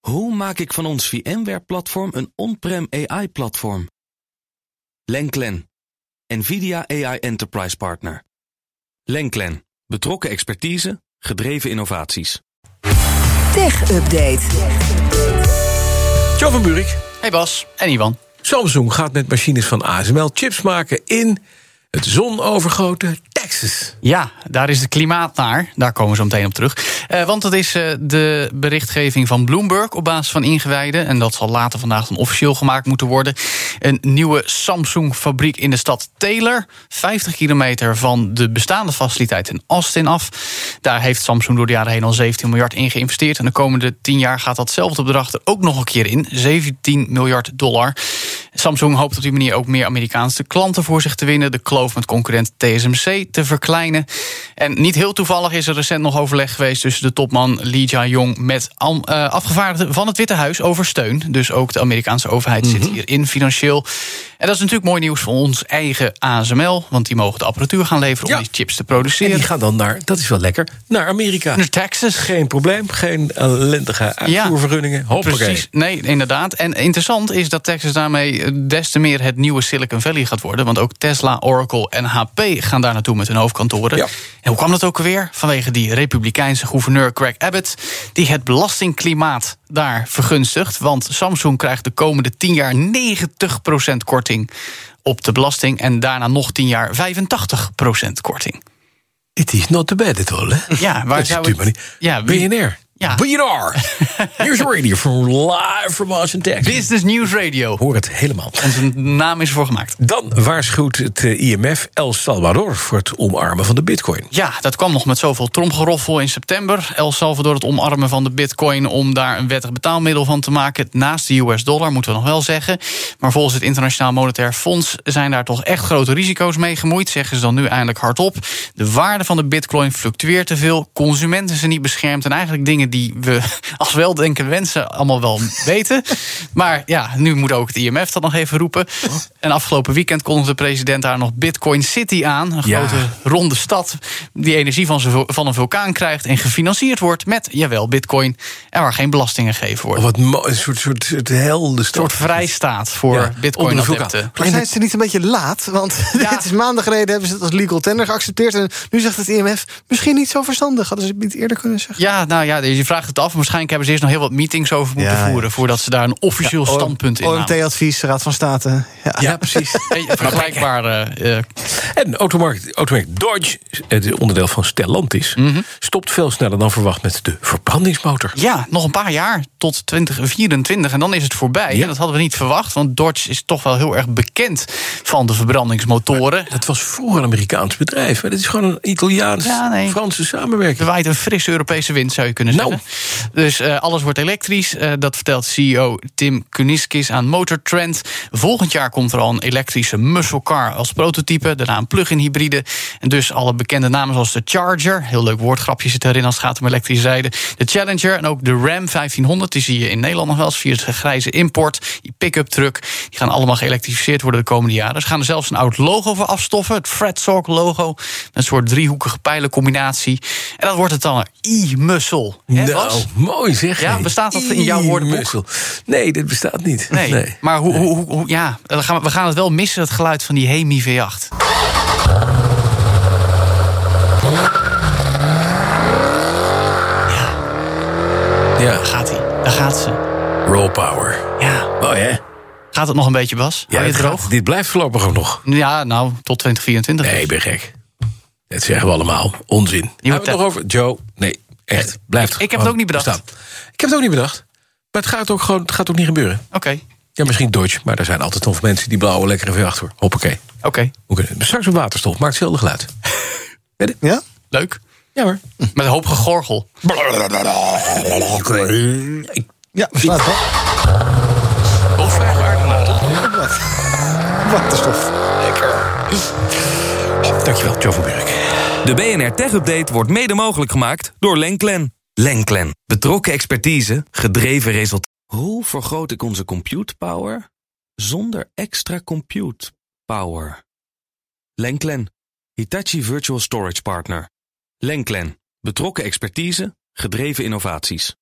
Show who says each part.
Speaker 1: Hoe maak ik van ons VMware-platform een on-prem AI-platform? Lenklen, NVIDIA AI Enterprise Partner. Lenklen, betrokken expertise, gedreven innovaties.
Speaker 2: Tech Update.
Speaker 3: Joe van Buurik.
Speaker 4: Hey Bas en Iwan.
Speaker 3: Samsung gaat met machines van ASML chips maken in het zonovergoten Texas.
Speaker 4: Ja, daar is het klimaat naar. Daar komen we zo meteen op terug. Eh, want dat is eh, de berichtgeving van Bloomberg op basis van ingewijden. En dat zal later vandaag dan officieel gemaakt moeten worden. Een nieuwe Samsung-fabriek in de stad Taylor. 50 kilometer van de bestaande faciliteit in Austin af. Daar heeft Samsung door de jaren heen al 17 miljard in geïnvesteerd. En de komende 10 jaar gaat datzelfde bedrag er ook nog een keer in. 17 miljard dollar. Samsung hoopt op die manier ook meer Amerikaanse klanten voor zich te winnen. De kloof met concurrent TSMC te verkleinen. En niet heel toevallig is er recent nog overleg geweest tussen de topman Lee Jae-yong met am- eh, afgevaardigden van het Witte Huis over steun. Dus ook de Amerikaanse overheid zit hierin financieel. En dat is natuurlijk mooi nieuws voor ons eigen ASML, want die mogen de apparatuur gaan leveren
Speaker 3: Ja.
Speaker 4: om die chips te
Speaker 3: En
Speaker 4: produceren.
Speaker 3: die gaan dan naar, dat is wel lekker, naar Amerika.
Speaker 4: Naar Texas.
Speaker 3: Geen probleem, geen ellendige uitvoervergunningen. Hopelijk.
Speaker 4: Precies, nee, inderdaad. En interessant is dat Texas daarmee eh, des te meer het nieuwe Silicon Valley gaat worden. Want ook Tesla, Oracle en HP gaan daar naartoe met hun hoofdkantoren.
Speaker 3: Ja.
Speaker 4: En hoe kwam dat ook alweer? Vanwege die republikeinse gouverneur Craig Abbott... die het belastingklimaat daar vergunstigt. Want Samsung krijgt de komende 10 jaar 90% korting op de belasting... en daarna nog 10 jaar 85% korting.
Speaker 3: It is not the bad at all, hè?
Speaker 4: Ja, waar
Speaker 3: Dat is
Speaker 4: zou
Speaker 3: natuurlijk maar
Speaker 4: het-
Speaker 3: niet.
Speaker 4: Ja, wie-
Speaker 3: BNR.
Speaker 4: Ja.
Speaker 3: BNR. Here's radio from live from Austin, Texas.
Speaker 4: Business News Radio.
Speaker 3: Hoor het helemaal.
Speaker 4: Onze naam is ervoor gemaakt.
Speaker 3: Dan waarschuwt het eh, IMF El Salvador voor het omarmen van de bitcoin.
Speaker 4: Ja, dat kwam nog met zoveel tromgeroffel in september. El Salvador het omarmen van de bitcoin om daar een wettig betaalmiddel van te maken. Naast de US-dollar, moeten we nog wel zeggen. Maar volgens het Internationaal Monetair Fonds zijn daar toch echt grote risico's mee gemoeid. Zeggen ze dan nu eindelijk hardop. De waarde van de bitcoin fluctueert te veel. Consumenten zijn niet beschermd. En eigenlijk dingen die we als weldenken wensen allemaal wel weten. Maar ja, nu moet ook het IMF dat nog even roepen. En afgelopen weekend kondigde de president daar nog Bitcoin City aan. Een
Speaker 3: Ja.
Speaker 4: grote ronde stad die energie van, zijn vul- van een vulkaan krijgt en gefinancierd wordt met, jawel, bitcoin. En waar geen belastingen gegeven
Speaker 3: Oh,
Speaker 4: worden.
Speaker 3: wat mooi, een soort, soort, soort
Speaker 4: Een soort
Speaker 3: heldenstad.
Speaker 4: vrijstaat voor
Speaker 3: Ja, onder
Speaker 4: bitcoin
Speaker 3: de vulkaan.
Speaker 4: adepten.
Speaker 5: Maar zijn ze niet een beetje laat? Want
Speaker 4: Ja.
Speaker 5: dit is maandag geleden hebben ze het als legal tender geaccepteerd. En nu zegt het IMF, misschien niet zo verstandig. Hadden ze het niet eerder kunnen zeggen.
Speaker 4: Ja, nou ja, je vraagt het af. Waarschijnlijk hebben ze eerst nog heel wat meetings over moeten
Speaker 5: Ja, ja.
Speaker 4: voeren... voordat ze daar een officieel standpunt in namen.
Speaker 5: OMT-advies, Raad van State. Ja.
Speaker 3: Ja, precies.
Speaker 4: Beetje Vergelijkbaar. eh, eh,
Speaker 3: En automerk, automerk Dodge, het onderdeel van Stellantis...
Speaker 4: Mhm.
Speaker 3: stopt veel sneller dan verwacht met de verbrandingsmotor.
Speaker 4: ja, nog een paar jaar tot 2024 en dan is het voorbij. En dat hadden we niet verwacht, want Dodge is toch wel heel erg bekend... van de verbrandingsmotoren.
Speaker 3: Dat was vroeger een Amerikaans bedrijf. Maar dit is gewoon een
Speaker 4: Ja, nee.
Speaker 3: Italiaans-Franse
Speaker 4: Er
Speaker 3: samenwerking.
Speaker 4: waait een frisse Europese wind, zou je kunnen
Speaker 3: Nou.
Speaker 4: zeggen. Dus eh, alles wordt elektrisch. Eh, dat vertelt CEO Tim Kuniskis aan Motor Trend. Volgend jaar komt er al een elektrische muscle car als prototype. Daarna een plug-in hybride. En dus alle bekende namen zoals de Charger. Heel leuk woordgrapje zit erin als het gaat om elektrische rijden. De Challenger en ook de Ram 1500. Die zie je in Nederland nog wel eens via de grijze import. Die pick-up truck. Die gaan allemaal geëlektrificeerd worden de komende jaren. Ze gaan er zelfs een oud logo voor afstoffen. Het Fred Zork logo. Met Een soort driehoekige pijlencombinatie. En dat wordt het dan een e-muscle. hè,
Speaker 3: Nou,
Speaker 4: Bas?
Speaker 3: mooi zeg.
Speaker 4: Ja,
Speaker 3: hé.
Speaker 4: bestaat dat in jouw woordenboek?
Speaker 3: Musel. Nee, dit bestaat niet.
Speaker 4: Nee, maar hoe, hoe, hoe- hoe- ja, we gaan, we gaan het wel missen, het geluid van die Hemi V8. Ja,
Speaker 3: Ja,
Speaker 4: daar gaat hij. Daar gaat ze.
Speaker 3: raw power.
Speaker 4: Ja.
Speaker 3: Mooi, Oh, hè?
Speaker 4: Gaat het nog een beetje, Bas?
Speaker 3: Ja,
Speaker 4: Hou je
Speaker 3: dit,
Speaker 4: het droog?
Speaker 3: gaat- dit blijft voorlopig ook nog.
Speaker 4: Ja, nou, tot 2024.
Speaker 3: Nee, ik ben gek. Dat zeggen we allemaal. Onzin. Hebben we het
Speaker 4: hebt
Speaker 3: nog over? Joe, nee, echt. Blijft
Speaker 4: ik heb
Speaker 3: gewoon
Speaker 4: het ook niet bedacht.
Speaker 3: bestaan. Ik heb het ook niet bedacht. Maar het gaat ook, gewoon, het gaat ook niet gebeuren.
Speaker 4: Oké,
Speaker 3: Ja, misschien Dodge, maar er zijn altijd nog mensen die blauwe lekkere v achter. Hoppakee.
Speaker 4: oké.
Speaker 3: Hoe kunnen- Straks op waterstof, maakt hetzelfde geluid. Weet je?
Speaker 5: Ja?
Speaker 4: Leuk.
Speaker 3: Ja hoor.
Speaker 4: Met een hoop gegorgel.
Speaker 3: Ik-
Speaker 5: Ja, slaat wel. Waterstof.
Speaker 3: Dankjewel, Joe van Burk.
Speaker 1: De BNR Tech Update wordt mede mogelijk gemaakt door Lenklen. Lenklen. Betrokken expertise, gedreven resultaten. Hoe vergroot ik onze compute power zonder extra compute power? Lenklen. Hitachi Virtual Storage Partner. Lenklen. Betrokken expertise, gedreven innovaties.